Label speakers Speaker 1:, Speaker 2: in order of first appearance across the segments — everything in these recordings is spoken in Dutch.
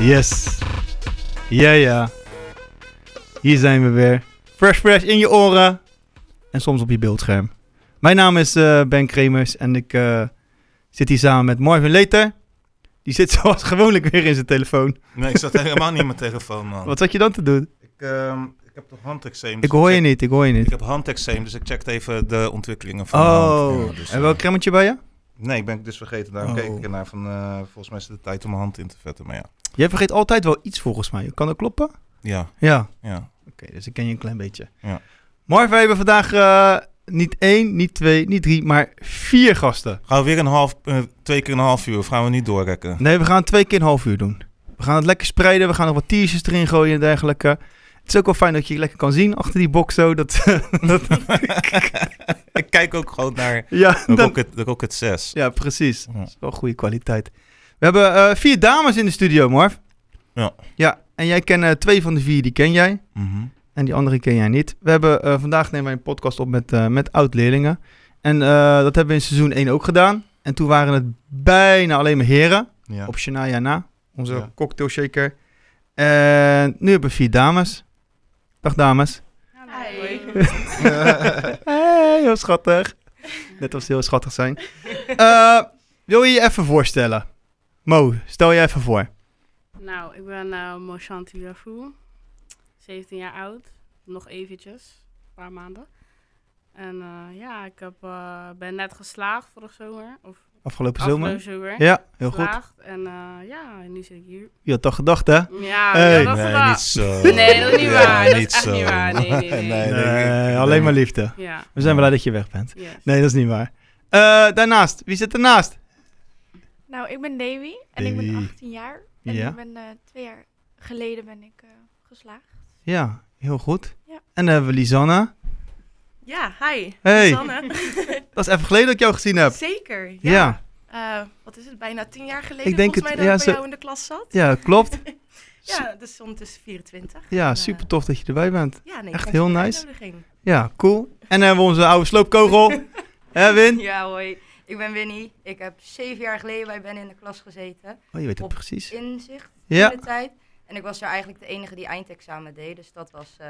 Speaker 1: Yes. Ja, ja. Hier zijn we weer. Fresh, fresh in je oren. En soms op je beeldscherm. Mijn naam is eh, Ben Kremers en ik eh, zit hier samen met Marvin Leter. Die zit zoals gewoonlijk weer in zijn telefoon.
Speaker 2: Nee, ik zat helemaal niet in mijn telefoon, man.
Speaker 1: Wat zat je dan te doen?
Speaker 2: Ik, ehm, ik heb toch handexeem.
Speaker 1: Ik hoor je niet, ik hoor je
Speaker 2: Ik
Speaker 1: niet.
Speaker 2: heb handexeem, dus ik checkte even de ontwikkelingen van mijn hand.
Speaker 1: Oh,
Speaker 2: Ja, dus,
Speaker 1: en welk
Speaker 2: eh,
Speaker 1: kremmetje bij je?
Speaker 2: Nee, ik ben dus vergeten. Daarom
Speaker 1: Oh.
Speaker 2: keek ik ernaar van, eh, volgens mij is het de tijd om mijn hand in te vetten. Maar ja,
Speaker 1: Jij vergeet altijd wel iets volgens mij. Kan dat kloppen?
Speaker 2: ja,
Speaker 1: Ja.
Speaker 2: ja.
Speaker 1: Oké, dus ik ken je een klein beetje.
Speaker 2: Ja.
Speaker 1: Marv, we hebben vandaag eh, niet één, niet twee, niet drie, maar vier gasten.
Speaker 2: Gaan we weer een half, eh, twee keer een half uur of gaan we niet doorrekken?
Speaker 1: Nee, we gaan twee keer een half uur doen. We gaan het lekker spreiden, we gaan nog wat teasers erin gooien en dergelijke. Het is ook wel fijn dat je je lekker kan zien achter die box zo. Dat, dat,
Speaker 2: ik kijk ook gewoon naar
Speaker 1: ja,
Speaker 2: de
Speaker 1: dat,
Speaker 2: Rocket, de Rocket 6.
Speaker 1: ja, precies.
Speaker 2: Ja.
Speaker 1: Dat is wel goede kwaliteit. We hebben eh, vier dames in de studio, Marv.
Speaker 2: Ja.
Speaker 1: Ja, en jij kent eh, twee van de vier, die ken jij.
Speaker 2: Mhm.
Speaker 1: En die andere ken jij niet. We hebben, eh, vandaag nemen wij een podcast op met, eh, met oud-leerlingen. En eh, dat hebben we in seizoen 1 ook gedaan. En toen waren het bijna alleen maar heren.
Speaker 2: ja.
Speaker 1: Op Shania Na, onze
Speaker 2: Ja.
Speaker 1: cocktail shaker. En nu hebben we vier dames. Dag dames.
Speaker 3: Hi.
Speaker 1: Hey, heel schattig. Net als ze heel schattig zijn. Eh, wil je je even voorstellen? Mo, stel je even voor.
Speaker 3: Nou, ik ben eh Moshanti Lafou, 17 jaar oud, nog eventjes, een paar maanden. En eh, ja, ik heb, eh, ben net geslaagd vorig zomer, of
Speaker 1: Afgelopen zomer.
Speaker 3: afgelopen zomer.
Speaker 1: Ja, heel goed.
Speaker 3: geslaagd. En eh, ja, en nu zit ik hier.
Speaker 1: Je had al gedacht, hè?
Speaker 3: Ja,
Speaker 1: Hey.
Speaker 3: ja, dat is
Speaker 2: nee,
Speaker 3: waar.
Speaker 2: niet zo.
Speaker 3: Nee, dat is niet
Speaker 2: Ja,
Speaker 3: waar. Dat is
Speaker 2: niet
Speaker 3: echt
Speaker 2: zo.
Speaker 3: niet waar. Nee, nee, nee.
Speaker 2: ik-
Speaker 1: Nee,
Speaker 2: ik-
Speaker 1: alleen maar liefde.
Speaker 3: Ja,
Speaker 1: We zijn blij dat je weg bent.
Speaker 3: yes.
Speaker 1: Nee, dat is niet waar. Eh, daarnaast, wie zit ernaast?
Speaker 4: Nou, ik ben Davy en ik
Speaker 1: Davy.
Speaker 4: ben 18 jaar. En
Speaker 1: Ja.
Speaker 4: ik ben eh, twee jaar geleden ben ik eh, geslaagd.
Speaker 1: Ja, heel goed.
Speaker 4: Ja.
Speaker 1: En dan hebben we Lisanne.
Speaker 5: Ja, hi.
Speaker 1: Hey.
Speaker 5: Sanne.
Speaker 1: Dat is even geleden dat ik jou gezien heb.
Speaker 5: Zeker. Ja.
Speaker 1: Ja, ja.
Speaker 5: Eh, wat is het? Bijna tien jaar geleden
Speaker 1: Ik denk
Speaker 5: volgens
Speaker 1: het,
Speaker 5: mij dat ik
Speaker 1: ja,
Speaker 5: bij
Speaker 1: zo-
Speaker 5: jou in de klas zat.
Speaker 1: klopt.
Speaker 5: Ja, dus ondertussen 24. En,
Speaker 1: Ja,
Speaker 5: eh,
Speaker 1: super tof dat je erbij bent.
Speaker 5: Ja, nee,
Speaker 1: Echt
Speaker 5: thanks voor
Speaker 1: heel
Speaker 5: de
Speaker 1: nice.
Speaker 5: uitnodiging.
Speaker 1: Ja, cool. En dan hebben we onze oude sloopkogel. Hè, Win?
Speaker 6: Ja, hoi. Ik ben Winnie. Ik heb zeven jaar geleden bij Ben in de klas gezeten.
Speaker 1: Oh, je weet het
Speaker 6: Op
Speaker 1: precies.
Speaker 6: Inzicht
Speaker 1: Ja,
Speaker 6: in de tijd. En ik was er eigenlijk de enige die eindexamen deed. Dus dat was eh,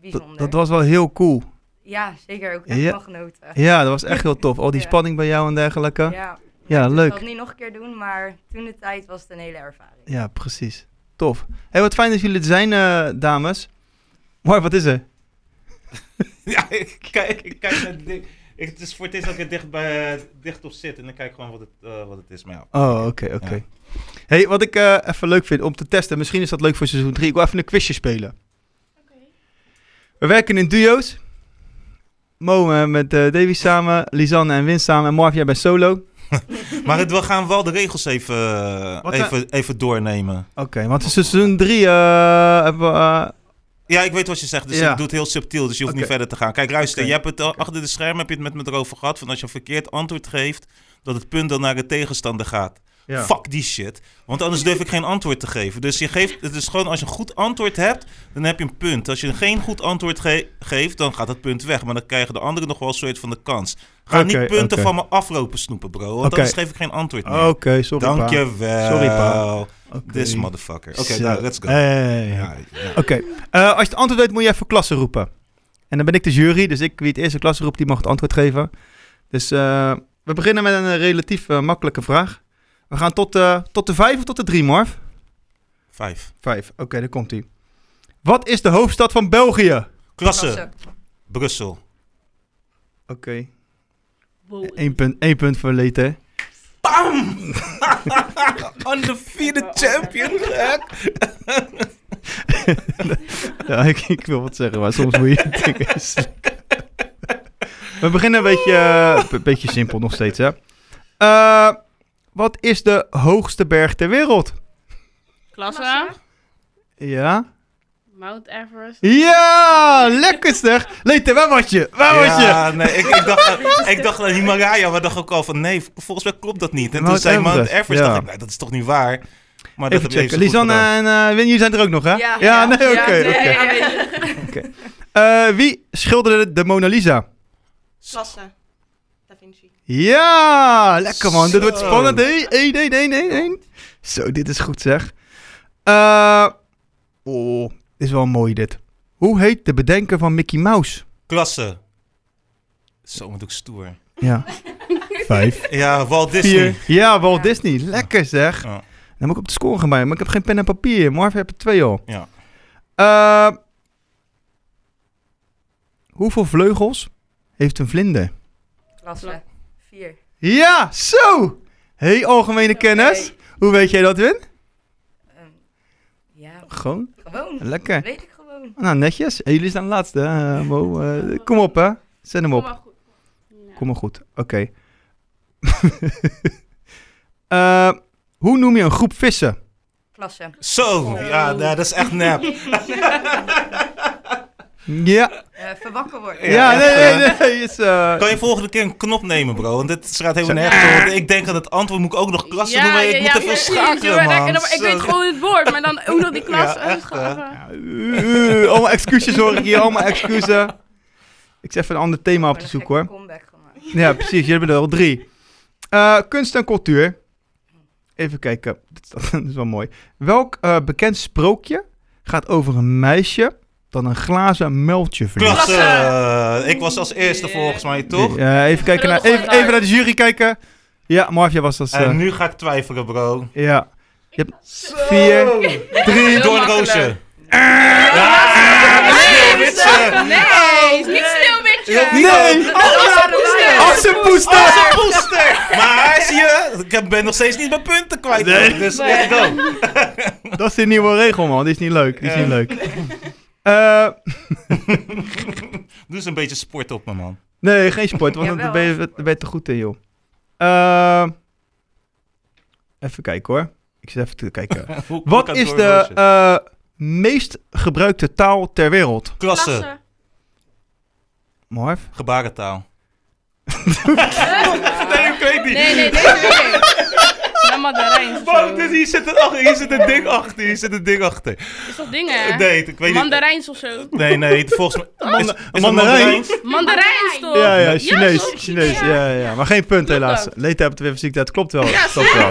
Speaker 6: bijzonder.
Speaker 1: dat, dat was wel heel cool.
Speaker 6: Ja, zeker. Ook echt
Speaker 1: Ja.
Speaker 6: van genoten.
Speaker 1: Ja, dat was echt heel tof. Al die
Speaker 6: Ja.
Speaker 1: spanning bij jou en dergelijke.
Speaker 6: Ja, Dus
Speaker 1: Ja,
Speaker 6: ik zal
Speaker 1: leuk.
Speaker 6: het niet nog een keer doen, maar toen de tijd was het een hele ervaring.
Speaker 1: Ja, precies. Tof. Hé, hey, wat fijn dat jullie er zijn, eh, dames. Maar wat is er?
Speaker 2: Ja, ik kijk, ik kijk naar het ding. Ik, het is voor het eerst dat ik er dicht, bij, dicht op zit en ik kijk gewoon wat het, eh, wat het is. Maar ja.
Speaker 1: Oh, oké, oké. hey, wat ik eh, even leuk vind om te testen, misschien is dat leuk voor seizoen 3. Ik wil even een quizje spelen. We werken in duo's. Mo eh, met eh, Davy samen, Lisanne en Win samen en Marv, jij bent solo. Oké,
Speaker 2: Maar het, we gaan wel de regels even,
Speaker 1: Wat, eh?
Speaker 2: even, even doornemen.
Speaker 1: want in seizoen 3 hebben we... eh,
Speaker 2: Ja, ik weet wat je zegt, dus
Speaker 1: Ja.
Speaker 2: ik doe het heel subtiel, dus je hoeft
Speaker 1: Oké.
Speaker 2: niet verder te gaan. Kijk, luister,
Speaker 1: Oké.
Speaker 2: je hebt het al- achter de schermen heb je het met me erover gehad, van als je een verkeerd antwoord geeft, dat het punt dan naar de tegenstander gaat. Fuck die shit, want anders durf ik geen antwoord te geven. Dus je geeft, het is gewoon, als je een goed antwoord hebt, dan heb je een punt. Als je geen goed antwoord ge- geeft, dan gaat het punt weg, maar dan krijgen de anderen nog wel een soort van de kans. Ga
Speaker 1: Oké,
Speaker 2: niet punten
Speaker 1: oké.
Speaker 2: van me aflopen snoepen, bro, want
Speaker 1: Oké.
Speaker 2: anders geef ik geen antwoord meer.
Speaker 1: Oké, sorry
Speaker 2: Dank
Speaker 1: pa.
Speaker 2: je wel.
Speaker 1: Sorry, pa. Oké.
Speaker 2: This motherfucker. Oké,
Speaker 1: Zo.
Speaker 2: nou, let's go.
Speaker 1: Hey.
Speaker 2: Ja, ja.
Speaker 1: Oké, eh, als je het antwoord weet, moet je even klasse roepen. En dan ben ik de jury, dus ik wie het eerste klasse roept, die mag het antwoord geven. Dus eh, we beginnen met een eh, relatief eh, makkelijke vraag. We gaan tot, eh, tot de vijf of tot de drie, Marv?
Speaker 2: Vijf.
Speaker 1: Vijf, oké, daar komt ie. Wat is de hoofdstad van België? Oké,
Speaker 2: Klasse. Brussel.
Speaker 3: Wow.
Speaker 1: één punt, één punt voor Leter.
Speaker 2: Undefeated champion.
Speaker 1: Ja, ik, ik wil wat zeggen, maar soms moet je dingen slikken. We beginnen een beetje, eh, een beetje simpel nog steeds, hè. Eh, wat is de hoogste berg ter wereld?
Speaker 3: Klasse,
Speaker 1: Ja?
Speaker 3: Mount Everest.
Speaker 1: Ja, lekker zeg. Leter, waar was je? Waar was je?
Speaker 2: Ja, nee, ik, ik dacht, aan- ik dacht aan Himalaya, maar dacht ook al van nee, volgens mij klopt dat niet. En
Speaker 1: Mount
Speaker 2: toen zei Mount
Speaker 1: Everest,
Speaker 2: Everest,
Speaker 1: ja.
Speaker 2: dacht ik, nee, dat is toch niet waar. Maar dat
Speaker 1: Even
Speaker 2: heb je
Speaker 1: checken.
Speaker 2: even goed
Speaker 1: Lisanne
Speaker 2: gedaan.
Speaker 1: en eh Win, jullie zijn er ook nog, hè?
Speaker 6: Ja,
Speaker 1: nee, oké.
Speaker 3: ja, nee,
Speaker 1: oké.
Speaker 3: ja.
Speaker 1: Eh, wie schilderde de Mona Lisa?
Speaker 5: Klasse. Da Vinci.
Speaker 1: Ja, lekker man. Dit wordt
Speaker 2: Zo.
Speaker 1: spannend. Hé, 1, 1, 1, 1, 1. Zo, dit is goed zeg. Eh, oh, is wel mooi dit. Hoe heet de bedenker van Mickey Mouse?
Speaker 2: Klasse. Zo, wat doe ik stoer.
Speaker 1: Ja. Vijf.
Speaker 2: Ja, Walt Disney.
Speaker 1: Vier. Ja, Walt
Speaker 6: Ja.
Speaker 1: Disney. Lekker zeg.
Speaker 2: Ja.
Speaker 1: Dan moet ik op de score gaan bij, maar ik heb geen pen en papier. Marv heb er twee al.
Speaker 2: Ja.
Speaker 1: Eh, hoeveel vleugels heeft een vlinder?
Speaker 6: Klasse. Vier.
Speaker 1: Ja, zo! hey, algemene kennis. Hoe weet jij dat, Win?
Speaker 6: Ehm, ja,
Speaker 1: Gewoon.
Speaker 6: gewoon.
Speaker 1: Lekker.
Speaker 6: Weet ik gewoon.
Speaker 1: Nou, netjes. En jullie staan de laatste, hè, Mo. Eh, kom op, hè. Zet hem
Speaker 3: Kom
Speaker 1: op.
Speaker 3: maar goed. Ja.
Speaker 1: Kom maar goed. Oké. Eh, hoe noem je een groep vissen?
Speaker 6: Klasse.
Speaker 2: Zo, ja, nou, dat is echt nep.
Speaker 1: Ja.
Speaker 6: Eh verwakker worden.
Speaker 1: Ja,
Speaker 2: echt,
Speaker 1: nee,
Speaker 2: hè?
Speaker 1: nee, nee. Is, eh,
Speaker 2: Kan je volgende keer een knop nemen, bro? Want dit straat helemaal
Speaker 1: Zo-
Speaker 2: nergens op. Ik denk aan het antwoord moet ik ook nog klassen doen. maar Ik moet even
Speaker 3: precies. Doe
Speaker 2: schakelen,
Speaker 3: maar lekker.
Speaker 2: man.
Speaker 3: Dan- Ik weet
Speaker 2: Zo.
Speaker 3: gewoon het woord, maar dan ook nog die klas.
Speaker 2: Ja, echt, hè?
Speaker 1: ja, eh, eh, allemaal excuses hoor ik hier. Allemaal excuses. Ik zet even een ander thema op te zoeken, hoor.
Speaker 6: comeback gemaakt.
Speaker 1: Ja, precies. Jullie hebben er al drie. Eh, kunst en cultuur. Even kijken. Dit is, dat is wel mooi. Welk eh, bekend sprookje gaat over een meisje dat een glazen muiltje verliest?
Speaker 2: Klasse.
Speaker 3: Klasse.
Speaker 2: Ik was als eerste volgens mij, toch?
Speaker 1: Eh, even, kijken naar, even, even naar de jury kijken. Ja, Marv, jij was als... eh,
Speaker 2: En nu ga ik twijfelen, bro.
Speaker 1: ja. Je hebt
Speaker 2: Oh.
Speaker 1: vier, drie...
Speaker 3: Heel
Speaker 2: Doornroosje.
Speaker 3: makkelijk.
Speaker 2: Ja,
Speaker 3: Nee,
Speaker 2: sneeuwwitsen.
Speaker 3: nee, niet sneeuwwitje.
Speaker 2: Nee.
Speaker 1: Nee!
Speaker 2: Oh,
Speaker 1: Assenpoester!
Speaker 2: Als een poester. Maar zie je, ik ben nog steeds niet mijn punten kwijt. Dus let it go.
Speaker 1: Dat is de nieuwe regel, man. Die is niet leuk. Die is niet
Speaker 2: Ja.
Speaker 1: leuk. Eh,
Speaker 2: Doe eens een beetje sport op me, man.
Speaker 1: nee, geen sport, want dan
Speaker 6: Jawel.
Speaker 1: ben, je, dan ben je te goed in, joh. Eh, even kijken, hoor. Ik zit even te kijken.
Speaker 2: Hoe- hoe
Speaker 1: Wat
Speaker 2: kan
Speaker 1: is de
Speaker 2: doornroosje?
Speaker 1: eh, meest gebruikte taal ter wereld?
Speaker 2: Klasse.
Speaker 1: Marv?
Speaker 2: Gebarentaal. nee, ik weet niet.
Speaker 3: Nee, nee, deze weet ik. Ja, mandarijn. of
Speaker 2: Wow,
Speaker 3: zo.
Speaker 2: dus hier, zit een, ach- hier zit een ding achter. Hier zit een ding achter.
Speaker 3: Is toch dingen, hè?
Speaker 2: Nee, ik weet niet.
Speaker 3: Mandarijns of zo.
Speaker 2: Nee, nee, volgens mij. Is, is het
Speaker 1: mandarijn?
Speaker 2: mandarijns?
Speaker 3: Mandarijns, toch?
Speaker 1: Ja, Oh, ja,
Speaker 2: Ja,
Speaker 1: Chinees.
Speaker 3: toch?
Speaker 1: Chinees, ja, ja. Maar geen punt helaas.
Speaker 3: ook.
Speaker 1: Leta hebt het weer fysiek, dat klopt wel. Dat klopt wel.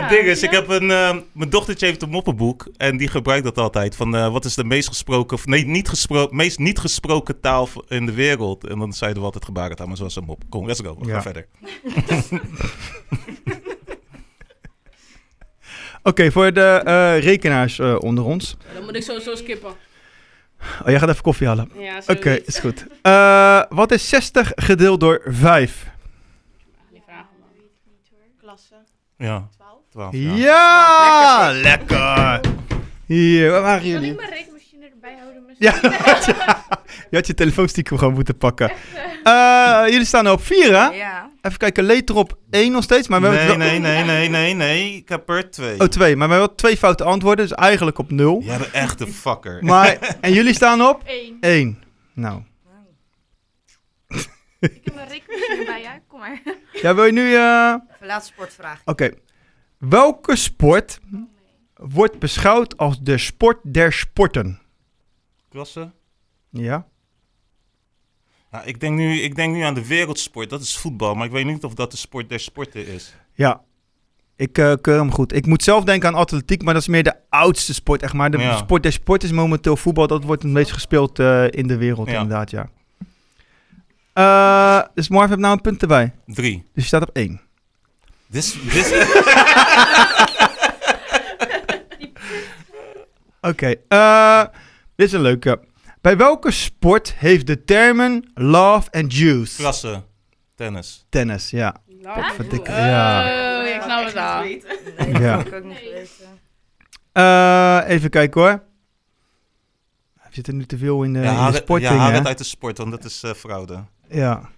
Speaker 2: Het ding is, ik heb een. eh, mijn dochtertje heeft een moppenboek. En die gebruikt dat altijd. Van eh, wat is de meest gesproken. Of nee, niet gesproken. Meest niet gesproken taal v- in de wereld. En dan zeiden we altijd gebarentaal. Maar zoals een mop. Kom, let's go. We
Speaker 1: Ja.
Speaker 2: gaan verder.
Speaker 1: Oké, voor de eh, rekenaars eh, onder ons.
Speaker 3: Dan moet ik sowieso skippen.
Speaker 1: Oh, jij gaat even koffie halen.
Speaker 3: Ja, zo
Speaker 1: Oké, is goed. Eh, wat is 60 gedeeld door 5?
Speaker 3: Die vragen, man.
Speaker 5: Klasse.
Speaker 2: Ja,
Speaker 5: 12.
Speaker 2: 12.
Speaker 1: Ja,
Speaker 2: Ja.
Speaker 1: lekker. Hier, waar waren
Speaker 4: Kan
Speaker 1: jullie?
Speaker 4: ik mijn rekenmachine erbij houden? misschien?
Speaker 1: Ja, je had je telefoonstiekem gewoon moeten pakken. Eh, jullie staan er op 4, hè?
Speaker 6: Ja.
Speaker 1: Even kijken, Leter op 1 nog steeds. Maar we hebben
Speaker 2: Nee,
Speaker 1: wel-
Speaker 2: nee, nee, nee, nee, nee. Ik heb er twee.
Speaker 1: Oh, 2. Maar we hebben wel twee foute antwoorden, dus eigenlijk op 0.
Speaker 2: Jij bent echt een fucker.
Speaker 1: Maar, en jullie staan op
Speaker 4: Eén.
Speaker 1: 1. Nou.
Speaker 4: Ik heb mijn rekenmachine erbij, ja? Kom maar.
Speaker 1: Ja, wil je nu... eh,
Speaker 6: Even laatste sportvraag.
Speaker 1: Oké. Welke sport wordt beschouwd als de sport der sporten?
Speaker 2: Klasse.
Speaker 1: Ja?
Speaker 2: Ja, ik, denk nu, ik denk nu aan de wereldsport. Dat is voetbal. Maar ik weet niet of dat de sport der sporten is.
Speaker 1: Ja. Ik eh, keur hem goed. Ik moet zelf denken aan atletiek, maar dat is meer de oudste sport, echt maar. De
Speaker 2: Ja.
Speaker 1: sport der sport is momenteel voetbal. Dat wordt het meest gespeeld eh, in de wereld,
Speaker 2: Ja.
Speaker 1: inderdaad, ja. Eh, dus Marv heeft nou een punt erbij.
Speaker 2: Drie.
Speaker 1: Dus je staat op één.
Speaker 2: This, this,
Speaker 1: Oké, eh, dit is een leuke. Bij welke sport heeft de termen love and juice?
Speaker 2: klasse. Tennis.
Speaker 1: Tennis, ja. Potverdikke,
Speaker 3: Eh,
Speaker 1: ja.
Speaker 3: ik snap het al.
Speaker 5: Echt niet weten.
Speaker 6: Nee, dat
Speaker 1: Ja.
Speaker 6: heb ik ook niet geweten.
Speaker 1: Eh, even kijken hoor. Er zitten nu te veel Eh, in de,
Speaker 2: ja,
Speaker 1: in de
Speaker 2: haal het- ja,
Speaker 1: sportdingen,
Speaker 2: haal
Speaker 1: hè?
Speaker 2: het uit de sport, want dat is eh, fraude.
Speaker 1: Ja.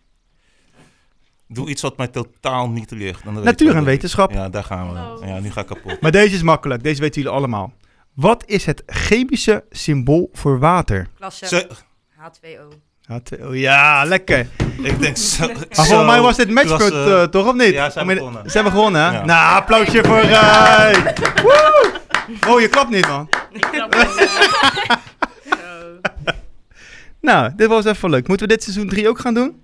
Speaker 2: Doe iets wat mij totaal niet ligt. Dan weet
Speaker 1: Natuur
Speaker 2: ik
Speaker 1: en
Speaker 2: wat het is.
Speaker 1: wetenschap.
Speaker 2: Ja, daar gaan we.
Speaker 3: Oh.
Speaker 2: Ja, nu ga ik kapot.
Speaker 1: Maar deze is makkelijk. Deze weten jullie allemaal. Wat is het chemische symbool voor water?
Speaker 6: Klasse.
Speaker 2: Zo,
Speaker 6: H2O.
Speaker 1: H2O. Ja, lekker.
Speaker 2: ik denk zo.
Speaker 1: Maar
Speaker 2: oh, zo,
Speaker 1: volgens mij was dit matchpunt,
Speaker 2: klasse.
Speaker 1: eh, toch? Of niet?
Speaker 2: Ja, ze hebben
Speaker 1: Ik meen-
Speaker 2: gewonnen.
Speaker 1: Ze hebben gewonnen, hè?
Speaker 2: Ja.
Speaker 1: Nou, applausje voor Rijn. Woe! Oh, je klapt niet, man.
Speaker 3: Knap, man. Zo.
Speaker 1: Nou, dit was even leuk. Moeten we dit seizoen 3 ook gaan doen?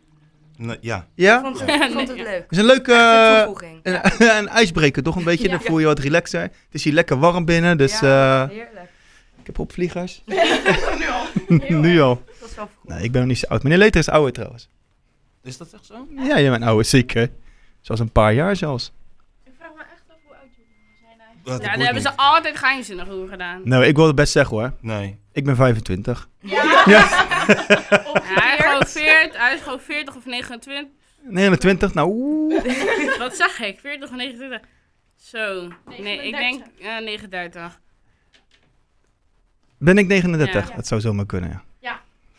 Speaker 2: Nee, ja.
Speaker 6: Ik
Speaker 1: Ja?
Speaker 6: vond het, ik vond het
Speaker 3: Nee,
Speaker 6: leuk.
Speaker 1: is een leuke...
Speaker 6: Echt een
Speaker 1: eh,
Speaker 6: toevoeging.
Speaker 1: Een, een ijsbreker, toch? Een beetje,
Speaker 6: Ja.
Speaker 1: dan voel je wat relaxer. Het is hier lekker warm binnen, dus
Speaker 6: Ja,
Speaker 1: eh,
Speaker 6: heerlijk.
Speaker 1: ik heb opvliegers.
Speaker 5: nu al.
Speaker 1: nu al.
Speaker 6: Dat is wel goed.
Speaker 1: Nee, ik ben nog niet zo oud. Meneer Leter is ouder trouwens.
Speaker 2: Is dat echt zo?
Speaker 1: Ja, je bent ouder, zeker. Zoals een paar jaar zelfs.
Speaker 4: Ik vraag me echt af hoe oud jullie zijn eigenlijk.
Speaker 2: Dat
Speaker 3: Ja,
Speaker 2: boeit
Speaker 3: daar hebben
Speaker 2: niet.
Speaker 3: ze altijd geheimzinnig over gedaan.
Speaker 1: Nou, ik wil het best zeggen hoor.
Speaker 2: Nee.
Speaker 1: Ik ben 25.
Speaker 3: Ja, hij, is gewoon 40, hij is gewoon 40 of 29.
Speaker 1: 29, nou oeh.
Speaker 3: Wat zag ik? 40 of 29? Zo. Nee, ik denk
Speaker 4: 39.
Speaker 3: eh 39.
Speaker 1: Ben ik 39?
Speaker 3: Ja.
Speaker 1: Dat zou zomaar kunnen, ja.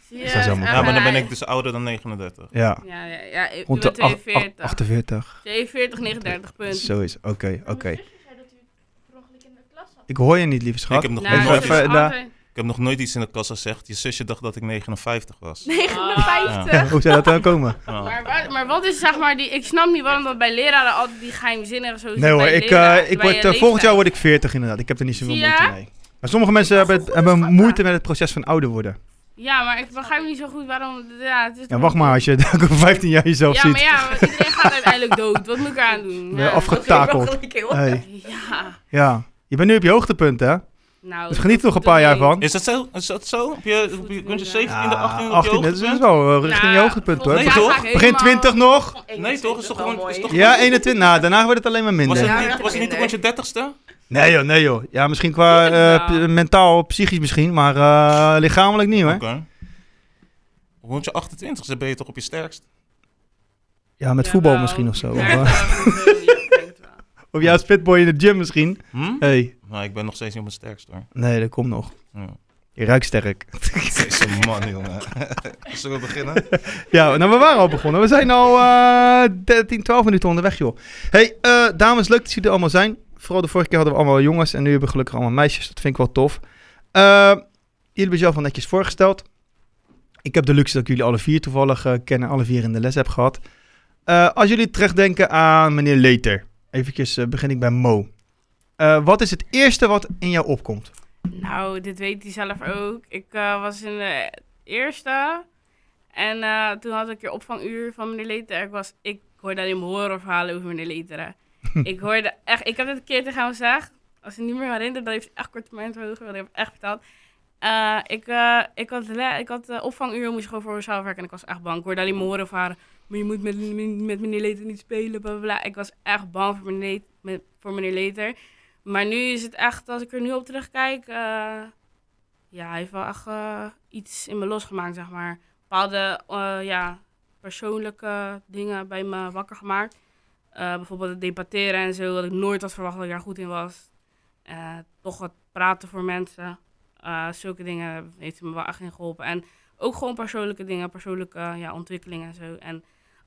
Speaker 3: Zie je,
Speaker 1: Dat zou zo
Speaker 3: het is
Speaker 1: moeten.
Speaker 2: Ja,
Speaker 3: echt
Speaker 2: maar dan ben
Speaker 3: een-
Speaker 2: ik dus ouder dan 39.
Speaker 1: Ja.
Speaker 3: Ja, ja, ja ik
Speaker 1: Rond
Speaker 3: ben
Speaker 1: de ach-
Speaker 3: 42.
Speaker 1: ach- 48.
Speaker 3: 42, 39 punten.
Speaker 1: Zo is, oké, oké.
Speaker 4: zei dat u per ongeluk in de klas zat.
Speaker 1: Ik hoor je niet, lieve
Speaker 2: Ik
Speaker 1: schat.
Speaker 2: heb, nog
Speaker 1: Nou,
Speaker 2: nooit,
Speaker 1: dat is-
Speaker 2: ik
Speaker 1: even- daar-
Speaker 3: altijd-
Speaker 2: heb nog nooit iets in de kassa gezegd. Je zusje dacht dat ik 59 was.
Speaker 1: nou.
Speaker 4: Ah. 59.
Speaker 1: Hoe zou dat dan komen?
Speaker 2: Ja.
Speaker 3: Maar wat, maar wat is zeg maar die... Ik snap niet waarom dat bij leraren altijd die geheimzinnige zo zit
Speaker 1: Nee hoor,
Speaker 3: bij
Speaker 1: ik,
Speaker 3: leraar-
Speaker 1: eh, ik
Speaker 3: bij
Speaker 1: word,
Speaker 3: je
Speaker 1: eh, volgend jaar
Speaker 3: leeftijd.
Speaker 1: word ik 40 inderdaad. Ik heb er niet zoveel
Speaker 3: Zie je? Oh,
Speaker 1: moeite mee. Maar sommige mensen hebben, het- hebben moeite met het proces van ouder worden.
Speaker 3: Ja, maar ik begrijp niet zo goed waarom... Ja, het is
Speaker 1: Ja, wacht maar als je het over 15 jaar jezelf
Speaker 3: Oh. Ja,
Speaker 1: ziet.
Speaker 3: maar ja, want iedereen gaat uiteindelijk dood. Wat moet ik eraan doen?
Speaker 1: Ben je
Speaker 6: Dat
Speaker 1: afgetakeld.
Speaker 6: ging wel gelijk heel-
Speaker 1: Hey,
Speaker 3: Ja,
Speaker 1: ja. Je bent nu op je hoogtepunt, hè?
Speaker 3: nou...
Speaker 1: Dus geniet er nog een paar jaar van.
Speaker 2: Is dat zo? Is dat zo? Heb je, op je, kun je 17e, 18e op
Speaker 1: 18, Ah,
Speaker 2: je
Speaker 1: dat
Speaker 2: hoogte
Speaker 1: is
Speaker 2: bent?
Speaker 1: wel eh, richting je
Speaker 3: Nou,
Speaker 1: hoogtepunt, hoor.
Speaker 2: Nee,
Speaker 3: volgend jaar
Speaker 2: toch?
Speaker 3: ga ik
Speaker 1: Begin
Speaker 3: helemaal-
Speaker 1: 20 nog.
Speaker 2: Nee, toch? Is toch gewoon... Is toch
Speaker 1: Ja, 21. Nou, daarna wordt het alleen maar
Speaker 2: was,
Speaker 1: minder.
Speaker 2: het
Speaker 6: Ja,
Speaker 2: niet, was het niet rond je 30ste?
Speaker 1: Nee joh, nee joh. Ja, misschien qua eh,
Speaker 3: Ja.
Speaker 1: p- mentaal, psychisch misschien, maar eh, lichamelijk niet hoor.
Speaker 2: Oké. Rond je 28ste ben je toch op je sterkst?
Speaker 1: Ja, met voetbal misschien of zo.
Speaker 3: Ja,
Speaker 1: Of, eh, of ja, als fitboy in de gym misschien.
Speaker 2: Hm?
Speaker 1: Hey.
Speaker 2: Nou, ik ben nog steeds niet op mijn sterkst hoor.
Speaker 1: Nee, dat komt nog.
Speaker 2: Ja.
Speaker 1: Je ruikt sterk.
Speaker 2: Deze man, jongen. Zullen we beginnen?
Speaker 1: ja, nou we waren al begonnen. We zijn al eh 13, 12 minuten onderweg joh. Hey, eh, dames, leuk dat jullie er allemaal zijn. Vooral de vorige keer hadden we allemaal jongens en nu hebben we gelukkig allemaal meisjes. Dat vind ik wel tof. Eh, jullie hebben zelf al netjes voorgesteld. Ik heb de luxe dat ik jullie alle vier toevallig eh, ken en alle vier in de les heb gehad. Eh, als jullie terugdenken aan meneer Leter. Even begin ik bij Mo. Eh, wat is het eerste wat in jou opkomt?
Speaker 3: Nou, dit weet hij zelf ook. Ik eh, was in de eerste. En eh, toen had ik je opvanguur van meneer Leter. Ik, was, ik hoorde alleen maar horrorverhalen over meneer Leter. hè. ik hoorde echt... Ik heb het een keer tegen hem gezegd. Als hij niet meer herinnert, dan heeft hij echt kort mijn verhogen. Want ik heb echt verteld. Eh, ik, eh, ik had, le- ik had eh, opvanguur, moest gewoon voor mezelf werken. En ik was echt bang. Ik hoorde alleen maar horrorverhalen. Maar je moet met, met meneer Leter niet spelen, bla, bla, bla. Ik was echt bang voor meneer, Let- met- voor meneer Leter. Maar nu is het echt, als ik er nu op terugkijk, eh, ja, hij heeft wel echt eh, iets in me losgemaakt, zeg maar. Bepaalde eh, ja, persoonlijke dingen bij me wakker gemaakt. Eh, bijvoorbeeld het debatteren en zo, dat ik nooit had verwacht dat ik daar goed in was. Eh, toch het praten voor mensen. Eh, zulke dingen heeft hij me wel echt in geholpen. En ook gewoon persoonlijke dingen, persoonlijke eh, ja, ontwikkeling en zo. En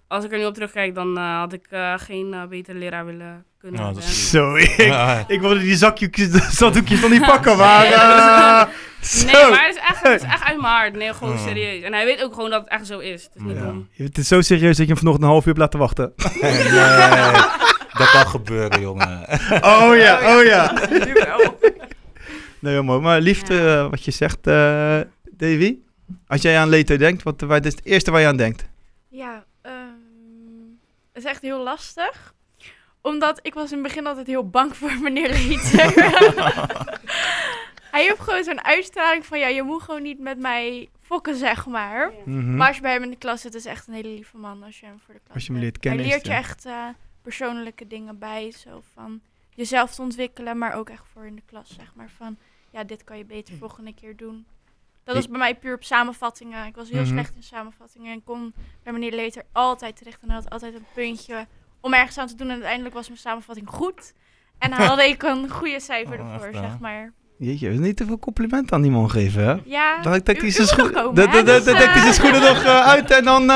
Speaker 3: als ik er nu op terugkijk, dan eh, had ik eh, geen eh, betere leraar willen kunnen
Speaker 2: Nou, dat
Speaker 3: hebben.
Speaker 2: is goed.
Speaker 1: Zo,
Speaker 2: Ja,
Speaker 1: Ik wilde die zakdoekjes, zakdoekjes nog niet pakken, maar...
Speaker 3: Nee,
Speaker 1: eh,
Speaker 3: Nee,
Speaker 1: zo. Oh.
Speaker 3: maar het is echt, het is echt uit mijn hart. Nee, gewoon
Speaker 2: Ja.
Speaker 3: serieus. En hij weet ook gewoon dat het echt zo is. Het is niet
Speaker 2: Ja.
Speaker 3: dom.
Speaker 1: Het is zo serieus dat je hem vanochtend een half uur hebt laten wachten.
Speaker 2: Nee, dat kan gebeuren, jongen.
Speaker 1: Oh ja, oh ja. Nee, helemaal. Maar liefde,
Speaker 3: Ja.
Speaker 1: eh, wat je zegt, eh, Davy. Als jij aan Leto denkt, wat, wat is het eerste waar je aan denkt?
Speaker 4: Ja, ehm, het is echt heel lastig. Omdat ik was in het begin altijd heel bang voor meneer Leter. Hij heeft gewoon zo'n uitstraling van, ja, je moet gewoon niet met mij fokken, zeg maar.
Speaker 1: Mhm.
Speaker 4: Maar als je bij hem in de klas zit, is echt een hele lieve man als je hem voor de klas
Speaker 1: Als je hem
Speaker 4: hebt.
Speaker 1: leert kennen,
Speaker 4: Hij
Speaker 1: is
Speaker 4: leert je
Speaker 1: het,
Speaker 4: echt eh, persoonlijke dingen bij, zo van jezelf te ontwikkelen, maar ook echt voor in de klas, zeg maar. Van, ja, dit kan je beter
Speaker 1: Hm.
Speaker 4: volgende keer doen. Dat was bij mij puur op samenvattingen. Ik was heel
Speaker 1: Mhm.
Speaker 4: slecht in samenvattingen en kon bij meneer Leter altijd terecht. En hij had altijd een puntje om ergens aan te doen. En uiteindelijk was mijn samenvatting goed. En dan had ik een goede cijfer
Speaker 2: Oh,
Speaker 4: ervoor,
Speaker 2: echt, hè?
Speaker 4: zeg maar.
Speaker 1: Jeetje, niet te veel complimenten aan die man geven, hè?
Speaker 4: Ja,
Speaker 1: Dan dekt
Speaker 4: u-
Speaker 1: hij
Speaker 4: u
Speaker 1: zijn
Speaker 4: moet nog
Speaker 1: schoen-
Speaker 4: komen,
Speaker 1: dan-
Speaker 4: hè?
Speaker 1: dan- dan-
Speaker 4: Dus,
Speaker 1: dan dekt hij
Speaker 4: eh,
Speaker 1: zijn schoenen nog eh, uit en dan eh,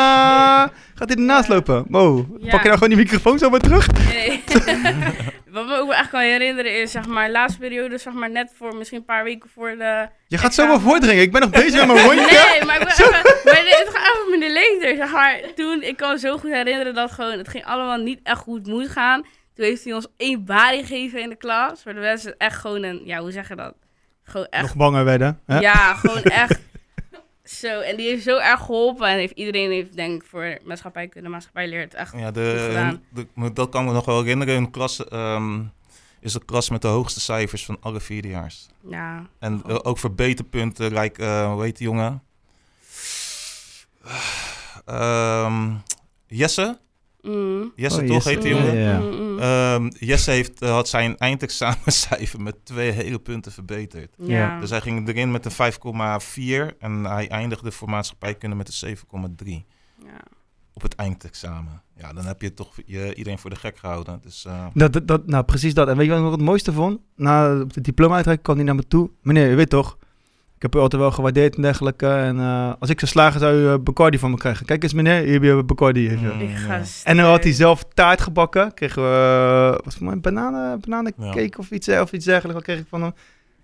Speaker 1: gaat hij ernaast lopen. Wow,
Speaker 3: Ja.
Speaker 1: pak je nou gewoon die microfoon zo maar terug?
Speaker 3: Nee. Wat me ook wel echt kan herinneren is, zeg maar, laatste periode, zeg maar, net voor, misschien een paar weken voor de...
Speaker 1: Je gaat zomaar voordringen. Ik ben nog bezig met mijn rondje.
Speaker 3: Nee, maar ik ben even, maar dit- het gaat even met de leeftijd, zeg maar. Toen, ik kan me zo goed herinneren dat gewoon, het ging allemaal niet echt goed moet gaan. Toen heeft hij ons één balie gegeven in de klas, voor de mensen echt gewoon een, ja, hoe zeg je dat? Gewoon echt
Speaker 1: Nog banger werden. Hè?
Speaker 3: Ja, gewoon echt. Zo, Zo, en die heeft zo erg geholpen. En heeft, iedereen heeft, denk ik, voor maatschappijkunde, maatschappij leert echt.
Speaker 2: Ja,
Speaker 3: goed
Speaker 2: de,
Speaker 3: gedaan.
Speaker 2: de- maar dat kan me nog wel herinneren. Een klas ehm, is de klas met de hoogste cijfers van alle vierdejaars.
Speaker 3: Ja,
Speaker 2: En eh, ook voor beterpunten, like, eh, hoe heet die jongen? Ehm, Jesse?
Speaker 3: Mm.
Speaker 2: Jesse
Speaker 1: Oh,
Speaker 2: toch
Speaker 1: Jesse,
Speaker 2: heet die
Speaker 1: ja,
Speaker 2: jongen?
Speaker 1: ja.
Speaker 3: Mm, mm, mm.
Speaker 2: Ehm, Jesse heeft, eh, had zijn eindexamencijfer met twee hele punten verbeterd.
Speaker 1: ja.
Speaker 3: ja.
Speaker 2: Dus hij ging erin met een 5,4 en hij eindigde voor maatschappijkunde met een 7,3
Speaker 3: ja.
Speaker 2: op het eindexamen. Ja, dan heb je toch je, iedereen voor de gek gehouden. Dus, eh,
Speaker 1: Dat, dat, dat- nou, precies dat. En weet je wat ik nog het mooiste vond? Na op de diploma-uitreiking kwam hij naar me toe. Meneer, u weet toch, ik heb u altijd wel gewaardeerd en dergelijke. En eh, als ik zou slagen, zou u eh, Bacardi van me krijgen. Kijk eens, meneer, hier heb je Bacardi. weet je wel.
Speaker 2: Mm.
Speaker 3: Ik ga
Speaker 2: Ja.
Speaker 1: En dan had hij
Speaker 3: stuk.
Speaker 1: zelf taart gebakken. Kregen we, eh, wat voor mij, bananen, bananencake of, iets, eh, of iets dergelijks. Wat kreeg ik van hem?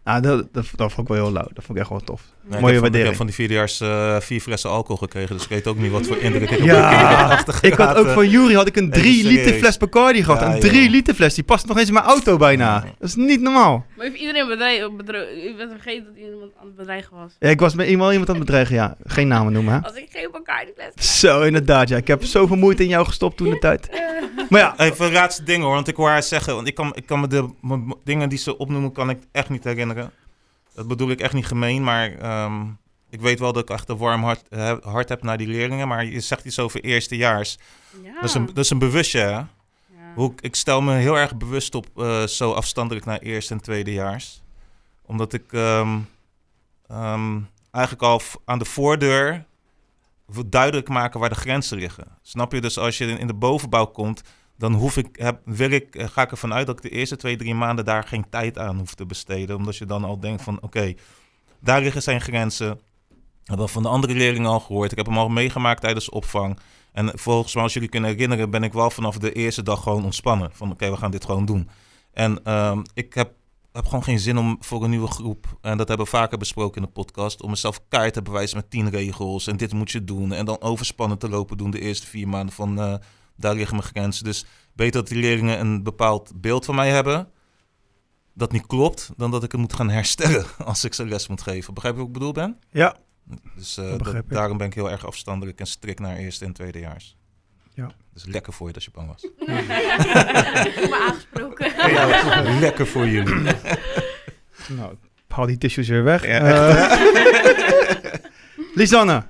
Speaker 1: Nou, dat, dat, dat vond ik wel heel lauw. Dat vond ik echt wel tof.
Speaker 2: nee, ik
Speaker 1: Mooie
Speaker 2: heb van- Ik
Speaker 1: waardering.
Speaker 2: heb van die vierdejaars eh vier flessen alcohol gekregen, dus ik weet ook niet wat voor indruk ik heb
Speaker 1: Ja.
Speaker 2: achtergelaten.
Speaker 1: Ik had ook van Jury had ik een
Speaker 2: Even
Speaker 1: 3 liter
Speaker 2: serieus.
Speaker 1: fles Bacardi gehad.
Speaker 2: Ja,
Speaker 1: een
Speaker 2: joh.
Speaker 1: 3 liter fles. Die past nog eens in mijn auto bijna.
Speaker 2: Ja.
Speaker 1: Dat is niet normaal.
Speaker 3: Maar heeft iedereen bedreigd? Ik ben vergeten dat iemand aan het bedreigen was.
Speaker 1: Ja, ik was met iemand, iemand aan het bedreigen. Ja, geen namen noemen. Hè?
Speaker 3: Als ik geen elkaar die les.
Speaker 1: Zo, inderdaad. Ja. Ik heb zoveel moeite in jou gestopt toen de tijd. Maar ja,
Speaker 2: Even raadste dingen hoor, want ik wil haar zeggen, want ik kan, ik kan me de m- m- dingen die ze opnoemen, kan ik echt niet herinneren. Dat bedoel ik echt niet gemeen, maar ehm, ik weet wel dat ik echt een warm hart, eh, hart heb naar die leerlingen. Maar je zegt iets over eerstejaars.
Speaker 3: Ja.
Speaker 2: Dat,
Speaker 3: Ah.
Speaker 2: is een, dat is een bewustje, hè?
Speaker 3: ja.
Speaker 2: Hoe, ik- ik stel me heel erg bewust op eh, zo afstandelijk naar eerste en tweedejaars. Omdat ik ehm, ehm, eigenlijk al v- aan de voordeur wil duidelijk maken waar de grenzen liggen. Snap je? Dus als je in- in de bovenbouw komt, dan hoef ik, heb, wil ik, eh, ga ik ervan uit dat ik de eerste twee, drie maanden daar geen tijd aan hoef te besteden. Omdat je dan al denkt van oké, daar liggen zijn grenzen. Ik heb al van de andere leerlingen al gehoord. Ik heb hem al meegemaakt tijdens opvang. En volgens mij, als jullie kunnen herinneren, ben ik wel vanaf de eerste dag gewoon ontspannen. Van oké, we gaan dit gewoon doen. En ehm, ik heb, heb gewoon geen zin om voor een nieuwe groep, en dat hebben we vaker besproken in de podcast, om mezelf kaart te bewijzen met tien regels. En dit moet je doen. En dan overspannen te lopen doen de eerste vier maanden van eh, daar liggen mijn grenzen. Dus beter dat die leerlingen een bepaald beeld van mij hebben. Dat niet klopt, dan dat ik het moet gaan herstellen als ik ze les moet geven. Begrijp je wat ik bedoel ben?
Speaker 1: ja.
Speaker 2: Dus eh,
Speaker 1: Dat
Speaker 2: dat-
Speaker 1: begrijp ik.
Speaker 2: daarom ben ik heel erg afstandelijk en strikt naar eerste en tweedejaars.
Speaker 1: Ja.
Speaker 2: Dus lekker voor je dat je bang was.
Speaker 4: Voel me aangesproken.
Speaker 2: lekker voor jullie.
Speaker 1: Nou, ik haal die tissues weer weg. Eh, Lisanne.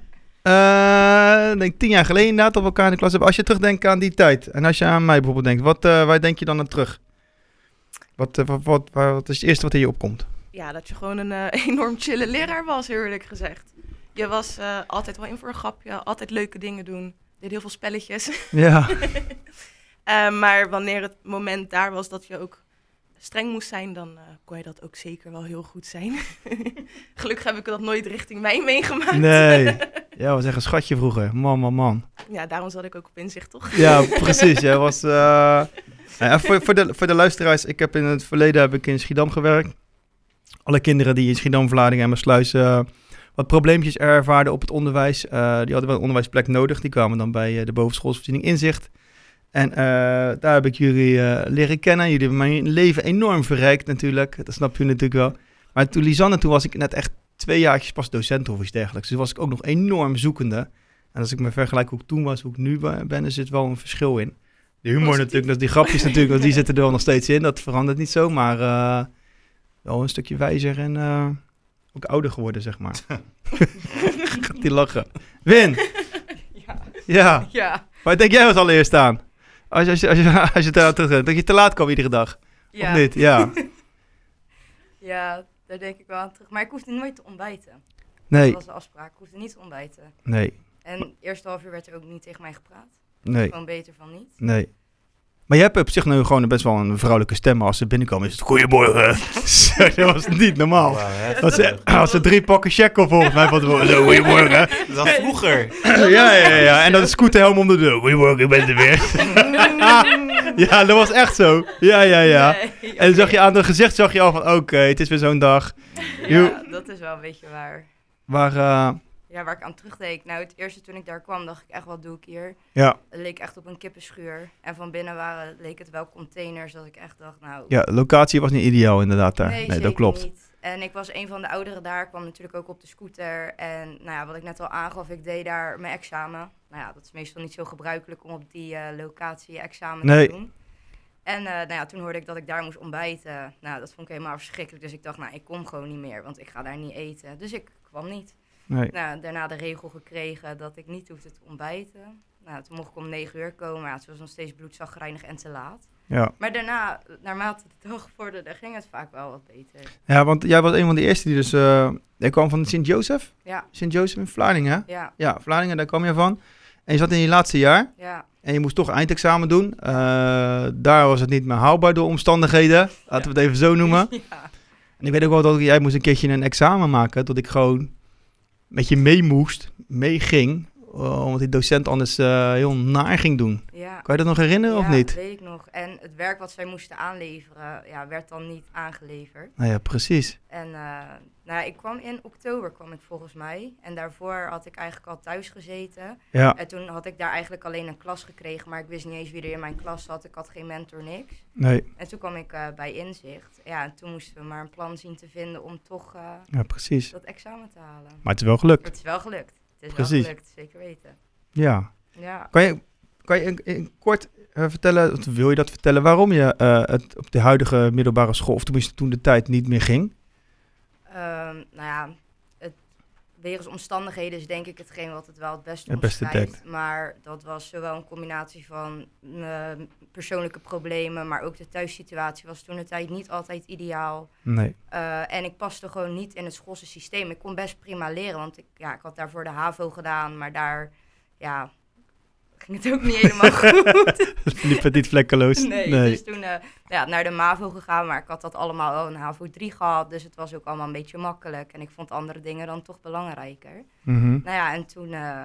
Speaker 1: eh, ik denk tien jaar geleden inderdaad dat we elkaar in de klas hebben. Als je terugdenkt aan die tijd. En als je aan mij bijvoorbeeld denkt. Wat, eh, waar denk je dan aan terug? Wat, eh, wat, wat, waar- wat is het eerste wat in je opkomt?
Speaker 5: Ja, dat je gewoon een eh, enorm chille leraar was, heel eerlijk gezegd. Je was eh, altijd wel in voor een grapje, altijd leuke dingen doen. Deed heel veel spelletjes.
Speaker 1: Ja.
Speaker 5: Eh, maar wanneer het moment daar was dat je ook streng moest zijn, dan eh, kon je dat ook zeker wel heel goed zijn. Gelukkig heb ik dat nooit richting mij meegemaakt.
Speaker 1: Nee. Ja, was echt een schatje vroeger. Man, man, man.
Speaker 5: Ja, daarom zat ik ook op inzicht, toch?
Speaker 1: Ja, precies. Jij was. eh, nou ja, voor, voor, de, voor de luisteraars, ik heb in het verleden heb ik in Schiedam gewerkt. Alle kinderen die in Schiedam, Vlaardingen en Mersluis eh wat probleempjes ervaarden op het onderwijs, eh, die hadden wel een onderwijsplek nodig. Die kwamen dan bij eh, de bovenschoolsvoorziening Inzicht. En eh, daar heb ik jullie eh, leren kennen. Jullie hebben mijn leven enorm verrijkt natuurlijk. Dat snap je natuurlijk wel. Maar toen Lisanne, toen was ik net echt twee jaartjes pas docent of iets dergelijks. Dus was ik ook nog enorm zoekende. En als ik me vergelijk hoe ik toen was, hoe ik nu be- ben, er zit wel een verschil in. De humor
Speaker 5: Positief.
Speaker 1: natuurlijk, dat die grapjes natuurlijk, want die zitten er wel nog steeds in. Dat verandert niet zo, maar eh, wel een stukje wijzer en eh, ook ouder geworden, zeg maar. Gaat die lachen. Win! Ja.
Speaker 5: Ja.
Speaker 1: Waar denk jij als allereerst aan? Als, je- als, je- als, je- als je te laat terug dat je te laat kwam iedere dag. Of
Speaker 6: Ja,
Speaker 1: niet? Ja.
Speaker 6: ja, daar denk ik wel aan terug. Maar ik hoefde nooit te ontbijten. Dat
Speaker 1: Nee,
Speaker 6: was de afspraak. Ik hoefde niet te ontbijten.
Speaker 1: nee,
Speaker 6: En het eerste half uur werd er ook niet tegen mij gepraat.
Speaker 1: nee,
Speaker 6: Gewoon beter van niet.
Speaker 1: nee. Maar jij hebt op zich nu gewoon best wel een vrouwelijke stem. Maar als ze binnenkomen is het goeiemorgen. Zo, dat was niet normaal. Als ze, als ze drie pakken check op volgens mij van tevoren. Zo, goeiemorgen.
Speaker 2: Dat vroeger.
Speaker 1: Ja, ja, ja. En dan is Scoot de helm om de deur. Goeiemorgen, ik ben er weer. ja, dat was echt zo. Ja, ja, ja.
Speaker 6: Nee,
Speaker 1: En dan zag
Speaker 6: oké.
Speaker 1: je aan het gezicht zag je al van, oké, het is weer zo'n dag.
Speaker 6: Ja, dat is wel een beetje waar.
Speaker 1: Maar eh,
Speaker 6: Ja, waar ik aan terugdeed. Nou, het eerste toen ik daar kwam, dacht ik echt, wat doe ik hier?
Speaker 1: Ja,
Speaker 6: Het leek echt op een kippenschuur. En van binnen waren, leek het wel containers, dat ik echt dacht, nou...
Speaker 1: ja, locatie was niet ideaal inderdaad daar. Nee, dat
Speaker 6: zeker
Speaker 1: klopt.
Speaker 6: niet. En ik was een van de ouderen daar, kwam natuurlijk ook op de scooter. En nou ja, wat ik net al aangaf, ik deed daar mijn examen. Nou ja, dat is meestal niet zo gebruikelijk om op die eh, locatie je examen
Speaker 1: Nee.
Speaker 6: te doen. En eh, nou ja, toen hoorde ik dat ik daar moest ontbijten. Nou, dat vond ik helemaal verschrikkelijk. Dus ik dacht, nou, ik kom gewoon niet meer, want ik ga daar niet eten. Dus ik kwam niet.
Speaker 1: Nee.
Speaker 6: Nou, daarna de regel gekregen dat ik niet hoefde te ontbijten. Nou, toen mocht ik om negen uur komen. Ja, het was nog steeds bloedzagrijnig en te laat.
Speaker 1: Ja.
Speaker 6: Maar daarna, naarmate de dag vorderde, ging het vaak wel wat beter.
Speaker 1: ja, want jij was een van de eerste die dus... eh jij kwam van Sint-Jozef?
Speaker 6: Ja.
Speaker 1: Sint-Jozef in Vlaardingen, hè?
Speaker 6: Ja,
Speaker 1: Ja, Vlaardingen, daar kwam je van. En je zat in je laatste jaar
Speaker 6: ja.
Speaker 1: en je moest toch eindexamen doen. Eh, daar was het niet meer haalbaar door omstandigheden. Laten we het even zo noemen.
Speaker 6: ja.
Speaker 1: En ik weet ook wel dat ik- jij moest een keertje een examen maken. Dat ik gewoon met je mee moest, meeging. eh, omdat die docent anders eh, heel naar ging doen.
Speaker 6: ja.
Speaker 1: Kan je dat nog herinneren of
Speaker 6: Ja,
Speaker 1: niet?
Speaker 6: weet ik nog. En het werk wat zij moesten aanleveren, ja, werd dan niet aangeleverd.
Speaker 1: Nou ja, precies.
Speaker 6: En eh, nou, ja, ik kwam in oktober, kwam ik volgens mij. En daarvoor had ik eigenlijk al thuis gezeten.
Speaker 1: Ja,
Speaker 6: En toen had ik daar eigenlijk alleen een klas gekregen, maar ik wist niet eens wie er in mijn klas zat. Ik had geen mentor, niks.
Speaker 1: nee,
Speaker 6: En toen kwam ik eh, bij Inzicht. Ja, en toen moesten we maar een plan zien te vinden om toch eh,
Speaker 1: ja, precies.
Speaker 6: dat examen te halen.
Speaker 1: Maar het is wel gelukt.
Speaker 6: Het is wel gelukt. Het is
Speaker 1: Precies.
Speaker 6: wel gelukt, zeker weten.
Speaker 1: Ja.
Speaker 6: Ja.
Speaker 1: Kan je, kan je in, in kort eh, vertellen, of wil je dat vertellen, waarom je eh, het op de huidige middelbare school, of tenminste toen de tijd, niet meer ging?
Speaker 6: Ehm, nou ja, het, wegens omstandigheden is denk ik hetgeen wat het wel het beste
Speaker 1: Het beste
Speaker 6: omschrijft.
Speaker 1: dekt.
Speaker 6: Maar dat was zowel een combinatie van eh, persoonlijke problemen, maar ook de thuissituatie was toen de tijd niet altijd ideaal.
Speaker 1: Nee.
Speaker 6: Eh, en ik paste gewoon niet in het schoolse systeem. Ik kon best prima leren, want ik, ja, ik had daarvoor de HAVO gedaan, maar daar ja, ging het ook niet helemaal goed.
Speaker 1: Liep het niet vlekkeloos?
Speaker 6: Nee, dus toen eh, nou ja, naar de MAVO gegaan, maar ik had dat allemaal wel een HAVO 3 gehad, dus het was ook allemaal een beetje makkelijk. En ik vond andere dingen dan toch belangrijker.
Speaker 1: Mhm.
Speaker 6: Nou ja, en toen eh,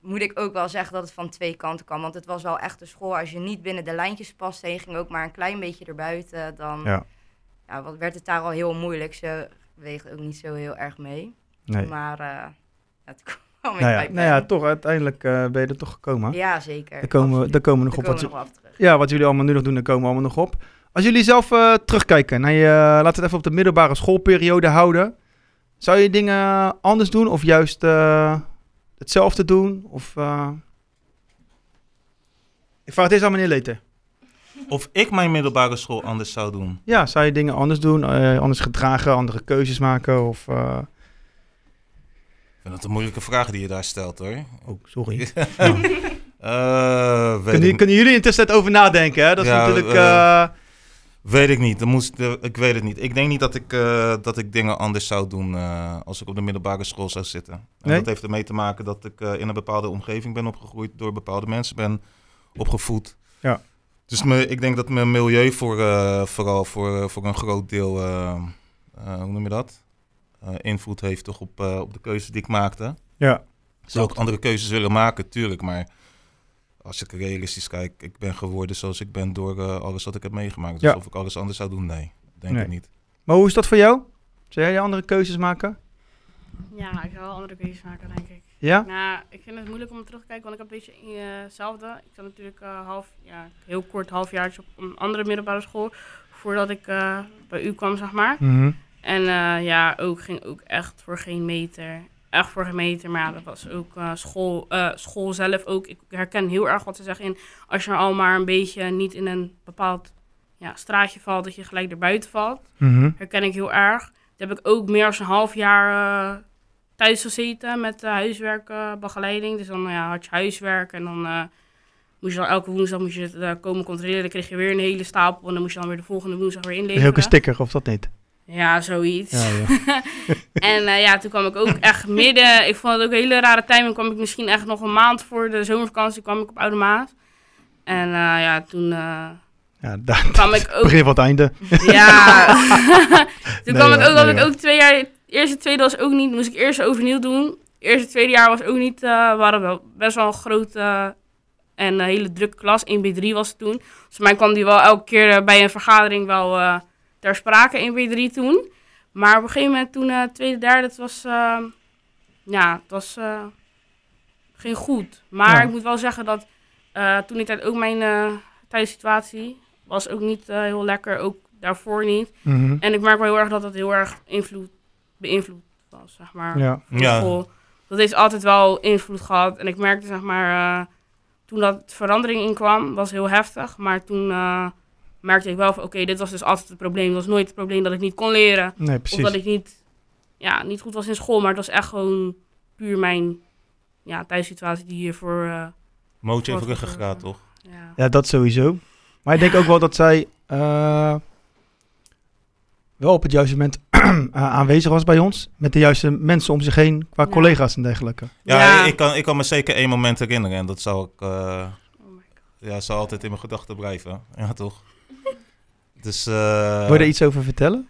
Speaker 6: moet ik ook wel zeggen dat het van twee kanten kwam, want het was wel echt een school. Als je niet binnen de lijntjes paste en je ging ook maar een klein beetje erbuiten, dan
Speaker 1: Ja.
Speaker 6: ja, wat werd het daar al heel moeilijk. Ze weegt ook niet zo heel erg mee.
Speaker 1: Nee.
Speaker 6: Maar eh ja, toen kwam ik
Speaker 1: Nou ja,
Speaker 6: bij
Speaker 1: nou ja,
Speaker 6: Ben.
Speaker 1: toch, uiteindelijk eh, ben je er toch gekomen. hè?
Speaker 6: ja, zeker.
Speaker 1: Daar komen, we,
Speaker 6: Absoluut.
Speaker 1: daar komen we nog
Speaker 6: Daar
Speaker 1: op. Wat,
Speaker 6: komen we nog wel op terug.
Speaker 1: Ja, wat jullie allemaal nu nog doen, daar komen we allemaal nog op. Als jullie zelf eh, terugkijken naar je, laten we het even op de middelbare schoolperiode houden. Zou je dingen anders doen of juist eh, hetzelfde doen? Of, eh, Ik vraag het eerst aan meneer Leter.
Speaker 2: Of ik mijn middelbare school anders zou doen.
Speaker 1: Ja, zou je dingen anders doen, eh, anders gedragen, andere keuzes maken? Of, eh,
Speaker 2: Ik vind dat een moeilijke vraag die je daar stelt hoor.
Speaker 1: Oh, sorry.
Speaker 2: Eh, weet,
Speaker 1: kunnen,
Speaker 2: ik,
Speaker 1: kunnen jullie intussen tijd over nadenken? Hè? Dat is
Speaker 2: Ja,
Speaker 1: natuurlijk...
Speaker 2: eh,
Speaker 1: eh,
Speaker 2: weet ik niet. Dan moest, eh, ik weet het niet. Ik denk niet dat ik, eh, dat ik dingen anders zou doen eh, als ik op de middelbare school zou zitten. En
Speaker 1: Nee?
Speaker 2: dat heeft ermee te maken dat ik eh, in een bepaalde omgeving ben opgegroeid, door bepaalde mensen ben opgevoed.
Speaker 1: Ja.
Speaker 2: Dus me, ik denk dat mijn milieu voor, eh, vooral voor, eh, voor een groot deel, eh, eh, hoe noem je dat? Eh, invloed heeft toch op, eh, op de keuzes die ik maakte.
Speaker 1: ja,
Speaker 2: Zou ik andere keuzes willen maken, tuurlijk. Maar als ik realistisch kijk, ik ben geworden zoals ik ben door eh, alles wat ik heb meegemaakt. Dus
Speaker 1: Ja.
Speaker 2: of ik alles anders zou doen, nee. Denk
Speaker 1: Nee.
Speaker 2: ik niet.
Speaker 1: maar hoe is dat voor jou? Zou jij andere keuzes maken?
Speaker 3: Ja, ik ga wel andere keuzes maken, denk ik.
Speaker 1: Ja?
Speaker 3: Nou, ik vind het moeilijk om terug te kijken, want ik heb een beetje eh, hetzelfde. Ik zat natuurlijk eh, half, ja, heel kort halfjaartje op een andere middelbare school, voordat ik eh, bij u kwam, zeg maar.
Speaker 1: Mhm.
Speaker 3: En eh, ja, ook ging ook echt voor geen meter. Echt voor geen meter, maar ja, dat was ook eh, school, eh, school zelf ook. Ik herken heel erg wat ze zeggen in als je al maar een beetje niet in een bepaald ja, straatje valt, dat je gelijk erbuiten valt.
Speaker 1: Mhm.
Speaker 3: Herken ik heel erg. Dat heb ik ook meer dan een half jaar eh, thuis gezeten met eh, huiswerk, huiswerkbegeleiding. Dus dan nou ja, had je huiswerk en dan eh, moest je dan elke woensdag moest je het eh, komen controleren. Dan kreeg je weer een hele stapel en dan moest je dan weer de volgende woensdag weer
Speaker 1: Is er
Speaker 3: inleveren.
Speaker 1: ook een sticker of dat niet?
Speaker 3: Ja, zoiets.
Speaker 1: Ja, ja.
Speaker 3: En eh, ja, toen kwam ik ook echt midden. Ik vond het ook een hele rare timing. Kwam ik misschien echt nog een maand voor de zomervakantie kwam ik op Oude Maas. En eh, ja, toen eh,
Speaker 1: Ja, daar
Speaker 3: kwam ik ook.
Speaker 1: begin van het einde.
Speaker 3: Ja. toen
Speaker 1: Nee,
Speaker 3: kwam ik
Speaker 1: hoor,
Speaker 3: ook, had
Speaker 1: nee,
Speaker 3: ik
Speaker 1: hoor.
Speaker 3: ook twee jaar. Eerste, tweede was ook niet. Moest ik eerst overnieuw doen. Eerste, tweede jaar was ook niet. eh we hadden wel best wel een grote en eh, hele drukke klas. 1B3 was het toen. Volgens mij kwam die wel elke keer eh, bij een vergadering wel eh, ter sprake. 1B3 toen. Maar op een gegeven moment toen eh, tweede, derde, dat was. eh, ja, het was, eh, ging goed. Maar
Speaker 1: Ja.
Speaker 3: ik moet wel zeggen dat eh, toen ik tijd ook mijn eh thuissituatie was ook niet eh, heel lekker, ook daarvoor niet.
Speaker 1: Mhm.
Speaker 3: En ik merk wel heel erg dat dat heel erg invloed, beïnvloed was, zeg maar.
Speaker 1: Ja.
Speaker 3: Van school. Dat heeft altijd wel invloed gehad. En ik merkte, zeg maar, eh, toen dat verandering in kwam, was heel heftig. Maar toen eh, merkte ik wel van, oké, dit was dus altijd het probleem. Het was nooit het probleem dat ik niet kon leren.
Speaker 1: Nee,
Speaker 3: Of
Speaker 1: precies.
Speaker 3: dat ik niet, ja, niet goed was in school. Maar het was echt gewoon puur mijn ja, thuissituatie die hiervoor... eh,
Speaker 2: Mootje heeft
Speaker 3: Wordt
Speaker 2: ruggengraat, toch?
Speaker 3: ja.
Speaker 1: Ja, dat sowieso. Maar ik denk ook wel dat zij eh, wel op het juiste moment a- aanwezig was bij ons. Met de juiste mensen om zich heen, qua
Speaker 3: Ja.
Speaker 1: collega's en dergelijke.
Speaker 2: Ja,
Speaker 3: Ja.
Speaker 2: Ik, kan, ik kan me zeker één moment herinneren. En dat zal ik... eh,
Speaker 3: Oh my God.
Speaker 2: ja, zal altijd in mijn gedachten blijven. Ja, toch? Dus... eh,
Speaker 1: Wil je er iets over vertellen?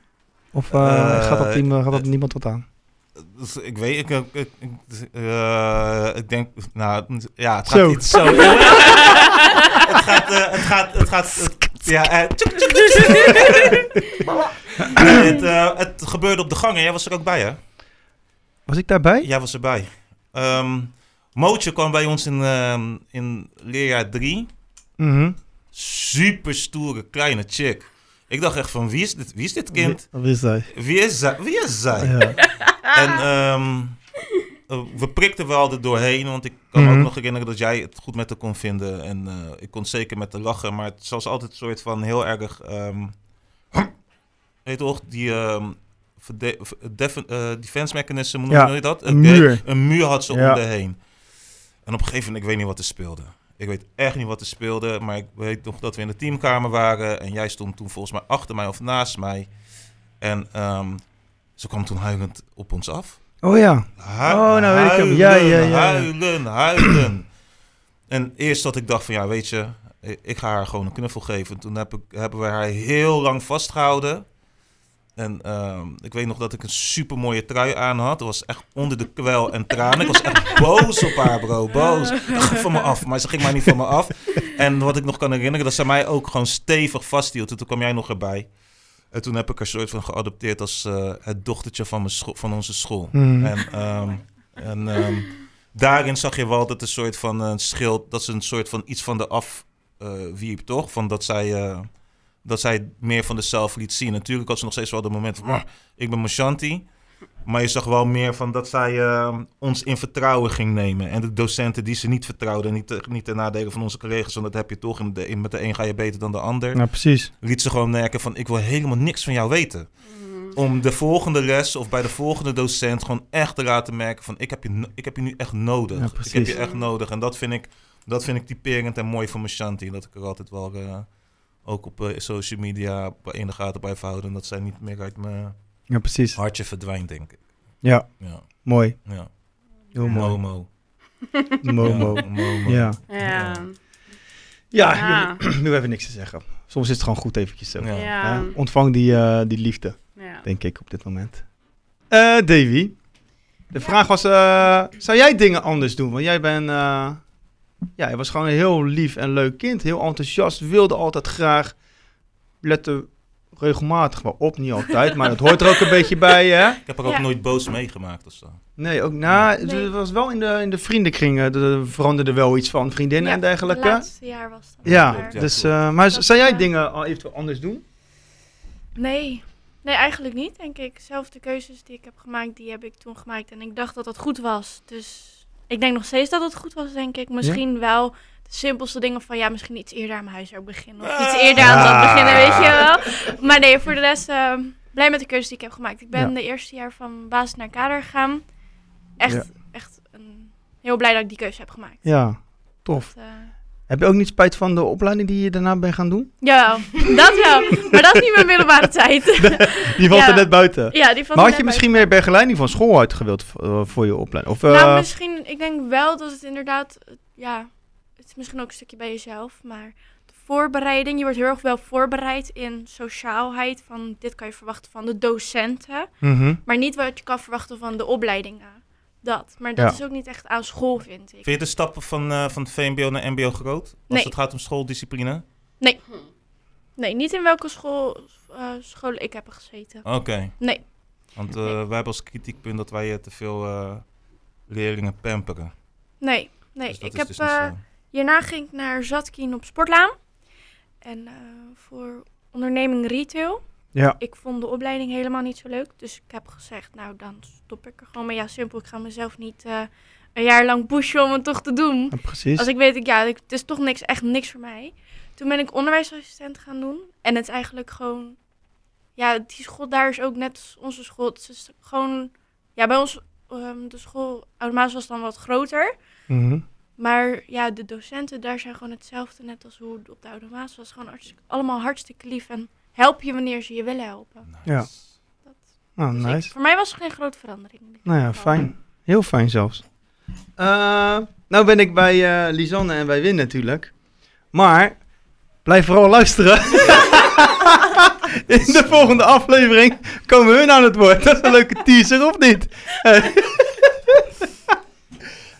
Speaker 1: Of eh,
Speaker 2: eh,
Speaker 1: gaat, dat team, gaat dat niemand wat aan?
Speaker 2: Dus ik weet, ik, ik, ik, ik- eh, ik denk, nou, ja, het gaat
Speaker 1: Zo.
Speaker 2: iets zo. het gaat, eh, het gaat, het gaat, het- ja, eh, tjoek, tjoek, tjoek, tjoek. Nee, het, eh, het gebeurde op de gang en jij was er ook bij, hè?
Speaker 1: Was ik daarbij?
Speaker 2: Jij was erbij. Ehm Mootje kwam bij ons in, ehm, in leerjaar 3.
Speaker 1: Mhm.
Speaker 2: Super stoere, kleine chick. Ik dacht echt van, wie is dit, wie is dit kind?
Speaker 1: Wie is hij?
Speaker 2: Wie is zij? Wie is zij?
Speaker 1: Ja.
Speaker 2: En ehm, eh, we prikten wel er doorheen, want ik kan me
Speaker 1: Mhm.
Speaker 2: ook nog herinneren dat jij het goed met haar kon vinden. En eh, ik kon zeker met haar lachen, maar het was altijd een soort van heel erg... ehm weet je toch, die... ehm verde- v- def- eh, defense mechanism, hoe noem
Speaker 1: Ja,
Speaker 2: je dat?
Speaker 1: een
Speaker 2: Oké,
Speaker 1: muur.
Speaker 2: Een muur had ze
Speaker 1: Ja.
Speaker 2: om de heen. En op een gegeven moment, ik weet niet wat er speelde. Ik weet echt niet wat er speelde, maar ik weet nog dat we in de teamkamer waren. En jij stond toen volgens mij achter mij of naast mij. En ehm, ze kwam toen huilend op ons af.
Speaker 1: Oh ja.
Speaker 2: Hu-
Speaker 1: Oh, nou weet ik hem. Ja,
Speaker 2: huilen,
Speaker 1: ja, ja, ja.
Speaker 2: Huilen, huilen. en eerst dat ik dacht van, ja, weet je, i- ik ga haar gewoon een knuffel geven. Toen heb ik, hebben we haar heel lang vastgehouden. En ehm, ik weet nog dat ik een super mooie trui aan had. Dat was echt onder de kwel en tranen. Ik was echt boos op haar, bro. Boos. Ze ging van me af, maar ze ging maar niet van me af. En wat ik nog kan herinneren, dat ze mij ook gewoon stevig vasthield. En toen kwam jij nog erbij. En toen heb ik haar soort van geadopteerd als eh, het dochtertje van, mijn scho- van onze school.
Speaker 1: Mhm.
Speaker 2: En, ehm, en ehm, daarin zag je wel dat een soort van eh, schild, dat ze een soort van iets van de af eh, wierp, toch? Van dat zij, eh, dat zij meer van de zelf liet zien. Natuurlijk had ze nog steeds wel de moment van, "Ah, ik ben Moshanti. Maar je zag wel meer van dat zij ehm, ons in vertrouwen ging nemen. En de docenten die ze niet vertrouwden, niet, te- niet ten nadele van onze collega's, want dat heb je toch. In de, in- met de een ga je beter dan de ander
Speaker 1: Nou, precies.
Speaker 2: liet ze gewoon merken van ik wil helemaal niks van jou weten. Om de volgende les of bij de volgende docent gewoon echt te laten merken van ik heb je, no- ik heb je nu echt nodig.
Speaker 1: Ja,
Speaker 2: ik heb
Speaker 1: precies.
Speaker 2: je echt nodig. En dat vind ik, dat vind ik typerend en mooi voor mijn Shanti. Dat ik er altijd wel eh, ook op eh, social media eh, in de gaten blijf houden. Dat zij niet meer uit mijn
Speaker 1: Ja, precies.
Speaker 2: hartje verdwijnt, denk ik.
Speaker 1: Ja,
Speaker 2: Ja,
Speaker 1: mooi.
Speaker 2: ja.
Speaker 1: Heel mooi.
Speaker 2: Momo.
Speaker 1: Momo.
Speaker 2: Ja, Momo.
Speaker 1: Ja. Ah,
Speaker 3: Ja.
Speaker 1: Ja,
Speaker 3: Ja.
Speaker 1: nu- nu even niks te zeggen. Soms is het gewoon goed eventjes zo.
Speaker 2: Ja.
Speaker 1: Ja,
Speaker 3: Ja.
Speaker 1: ontvang die, eh, die liefde.
Speaker 3: Ja.
Speaker 1: denk ik op dit moment. Eh Davy, de vraag was, eh, zou jij dingen anders doen? Want jij bent, eh, ja, je was gewoon een heel lief en leuk kind. Heel enthousiast, wilde altijd graag. Lette regelmatig wel op, niet altijd, maar dat hoort er ook een beetje bij, hè?
Speaker 2: Ik heb er ook
Speaker 4: Ja.
Speaker 2: nooit boos meegemaakt of zo.
Speaker 1: Nee, ook na, het
Speaker 4: Nee.
Speaker 1: was wel in de, in de vriendenkring, eh, er veranderde wel iets van vriendinnen
Speaker 4: Ja,
Speaker 1: en dergelijke.
Speaker 4: laatste jaar was dat.
Speaker 1: Ja,
Speaker 4: Maar-
Speaker 2: Ja,
Speaker 1: dus,
Speaker 2: klopt.
Speaker 1: eh, maar z-
Speaker 4: Dat,
Speaker 1: zou jij
Speaker 4: eh,
Speaker 1: dingen al eventueel anders doen?
Speaker 4: Nee. Nee, eigenlijk niet, denk ik. Zelf de keuzes die ik heb gemaakt, die heb ik toen gemaakt. En ik dacht dat dat goed was. Dus ik denk nog steeds dat het goed was, denk ik. Misschien wel de simpelste dingen van... Ja, misschien iets eerder aan mijn huiswerk beginnen. Of
Speaker 1: Ah.
Speaker 4: iets eerder aan dat beginnen, weet je wel. Maar nee, voor de rest ehm, blij met de keuzes die ik heb gemaakt. Ik ben
Speaker 1: Ja.
Speaker 4: de eerste jaar van basis naar kader gegaan. Echt,
Speaker 1: Ja.
Speaker 4: echt een, heel blij dat ik die keuze heb gemaakt.
Speaker 1: Ja, tof.
Speaker 4: Dat, eh,
Speaker 1: Heb je ook niet spijt van de opleiding die je daarna bent gaan doen?
Speaker 4: Jawel, dat wel. Maar dat is niet mijn middelbare tijd.
Speaker 1: Die valt
Speaker 4: Ja.
Speaker 1: er net buiten.
Speaker 4: ja, die
Speaker 1: Maar
Speaker 4: vond ik
Speaker 1: had je
Speaker 4: net
Speaker 1: misschien meer begeleiding van school uit gewild v- eh, voor je opleiding? Of, eh,
Speaker 2: ehm,
Speaker 4: Nou, misschien, ik denk wel dat het inderdaad, eh, ja, het is misschien ook een stukje bij jezelf, maar de voorbereiding, je wordt heel erg wel voorbereid in sociaalheid, van dit kan je verwachten van de docenten,
Speaker 1: mhm.
Speaker 4: maar niet wat je kan verwachten van de opleidingen. Dat, maar dat
Speaker 1: Ja.
Speaker 4: is ook niet echt aan school, vind ik.
Speaker 2: Vind je de stappen van, eh, van VMBO naar MBO groot? Als
Speaker 4: Nee.
Speaker 2: het gaat om schooldiscipline?
Speaker 4: Nee, niet in welke school, eh scholen ik heb gezeten.
Speaker 2: Oké.
Speaker 4: Nee.
Speaker 2: Want eh, wij hebben als kritiekpunt dat wij eh, te veel eh, leerlingen pamperen.
Speaker 4: Nee, nee.
Speaker 2: Dus dat
Speaker 4: ik
Speaker 2: is
Speaker 4: heb,
Speaker 2: dus niet
Speaker 4: eh,
Speaker 2: zo.
Speaker 4: hierna ging ik naar Zatkin op Sportlaan. En eh, voor onderneming retail.
Speaker 1: Ja.
Speaker 4: Ik vond de opleiding helemaal niet zo leuk. Dus ik heb gezegd, nou dan stop ik er gewoon. Maar ja, simpel. Ik ga mezelf niet eh, een jaar lang pushen om het toch te doen.
Speaker 1: Ja, precies.
Speaker 4: Als ik weet, ik, ja, ik- het is toch niks, echt niks voor mij. Toen ben ik onderwijsassistent gaan doen. En het is eigenlijk gewoon... Ja, die school daar is ook net als onze school. Het is gewoon... Ja, bij ons, ehm, de school Oud-Maas was dan wat groter.
Speaker 1: Mhm.
Speaker 4: Maar ja, de docenten daar zijn gewoon hetzelfde. Net als hoe het op de Oude Maas was. Gewoon hartstikke, allemaal hartstikke lief. En help je wanneer ze je willen helpen.
Speaker 1: Ja. Nou,
Speaker 4: Dus
Speaker 1: nice.
Speaker 4: ik- voor mij was er geen grote verandering. in dit
Speaker 1: Nou ja,
Speaker 4: geval.
Speaker 1: fijn. Heel fijn zelfs. Eh, nou ben ik bij eh, Lisanne en bij Win natuurlijk. Maar blijf vooral luisteren. In de volgende aflevering komen hun aan het woord. Dat is een leuke teaser, of niet?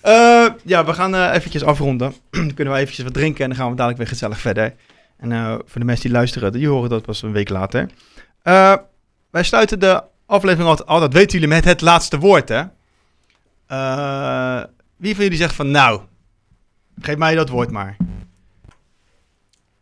Speaker 1: Eh, eh, ja, we gaan eh, eventjes afronden. Dan kunnen we eventjes wat drinken en dan gaan we dadelijk weer gezellig verder. En eh, voor de mensen die luisteren, die horen dat pas een week later. Eh, wij sluiten de aflevering altijd, altijd weten jullie met het laatste woord, hè? Eh, wie van jullie zegt van, nou, geef mij dat woord maar.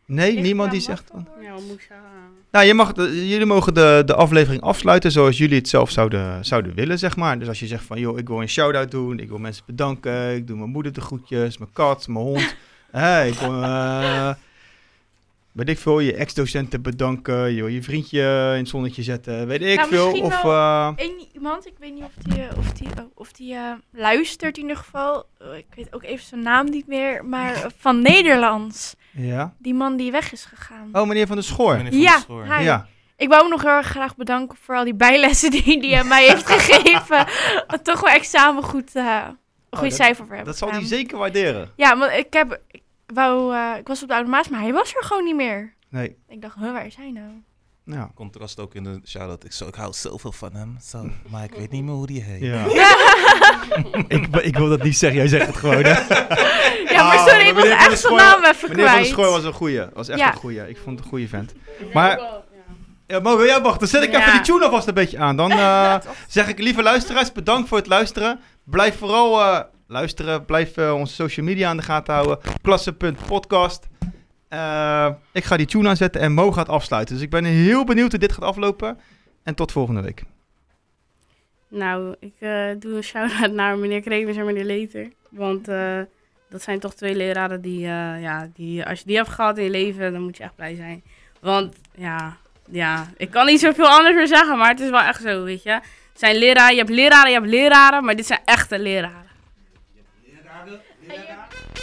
Speaker 1: Nee,
Speaker 4: Ligt
Speaker 1: niemand
Speaker 4: eraan
Speaker 1: die
Speaker 4: wat
Speaker 1: zegt...
Speaker 4: voor woord.
Speaker 3: Ja, wat moet ik zeggen?
Speaker 1: Nou, je mag, de- jullie mogen de, de aflevering afsluiten zoals jullie het zelf zouden, zouden willen, zeg maar. Dus als je zegt van, joh, ik wil een shout-out doen, ik wil mensen bedanken, ik doe mijn moeder de groetjes, mijn kat, mijn hond. Hé, ik wil, eh weet ik veel, je ex-docenten bedanken, je, wil je vriendje in het zonnetje zetten, weet ik
Speaker 4: Nou,
Speaker 1: veel.
Speaker 4: misschien
Speaker 1: Of,
Speaker 4: wel-
Speaker 1: eh,
Speaker 4: Eén iemand, ik weet niet of die, eh, of die, oh, of die eh, luistert in ieder geval. Oh, ik weet ook even zijn naam niet meer. Maar eh, van Nederlands.
Speaker 1: ja.
Speaker 4: Die man die weg is gegaan.
Speaker 1: Oh, meneer van de Schoor.
Speaker 2: Meneer Van der
Speaker 4: Ja,
Speaker 2: Schoor.
Speaker 4: hij.
Speaker 1: Ja,
Speaker 4: Ik wou hem nog heel erg graag bedanken voor al die bijlessen die, die hij mij heeft gegeven. Toch wel examen goed, eh een goede
Speaker 1: Oh, dat-
Speaker 4: cijfer voor hebben
Speaker 1: dat zal hij
Speaker 4: gedaan.
Speaker 1: zeker waarderen.
Speaker 4: Ja, want ik, heb, ik, wou, eh, ik was op de Oude Maas, maar hij was er gewoon niet meer.
Speaker 1: Nee,
Speaker 4: Ik dacht, huh, waar is hij nou?
Speaker 1: nou.
Speaker 2: Contrast ook in de shout-out. Ik, zo, ik hou zoveel van hem, zo, maar ik weet niet meer hoe die heet.
Speaker 1: Ja. ik, ik wil dat niet zeggen, jij zegt het gewoon, hè?
Speaker 4: Ja, maar
Speaker 1: Ah,
Speaker 4: sorry,
Speaker 1: meneer
Speaker 4: ik was
Speaker 1: Van der
Speaker 4: echt zijn
Speaker 1: Schoor-
Speaker 4: naam even
Speaker 1: Meneer van der
Speaker 4: kwijt.
Speaker 1: Schoor was een goeie. Was echt
Speaker 4: Ja.
Speaker 1: een goeie. Ik vond het een goeie vent.
Speaker 3: Ja,
Speaker 1: Maar-
Speaker 3: ook wel, ja.
Speaker 1: Ja, mogen jij wachten? Dan zet ik
Speaker 3: Ja.
Speaker 1: even die tune alvast een beetje aan. Dan eh, zeg ik, lieve luisteraars, bedankt voor het luisteren. Blijf vooral eh, luisteren. Blijf eh, onze social media aan de gaten houden. Klasse.podcast. Eh ik ga die tune aanzetten en Mo gaat afsluiten. Dus ik ben heel benieuwd hoe dit gaat aflopen. En tot volgende week.
Speaker 3: Nou, ik eh, doe een shout-out naar meneer Kremers en meneer Leter. Want eh, dat zijn toch twee leraren die, eh, ja, die, als je die hebt gehad in je leven, dan moet je echt blij zijn. Want ja, ja, ik kan niet zoveel anders meer zeggen, maar het is wel echt zo, weet je. Het zijn leraren, je hebt leraren, je hebt leraren, maar dit zijn echte leraren.
Speaker 6: Thank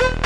Speaker 6: you.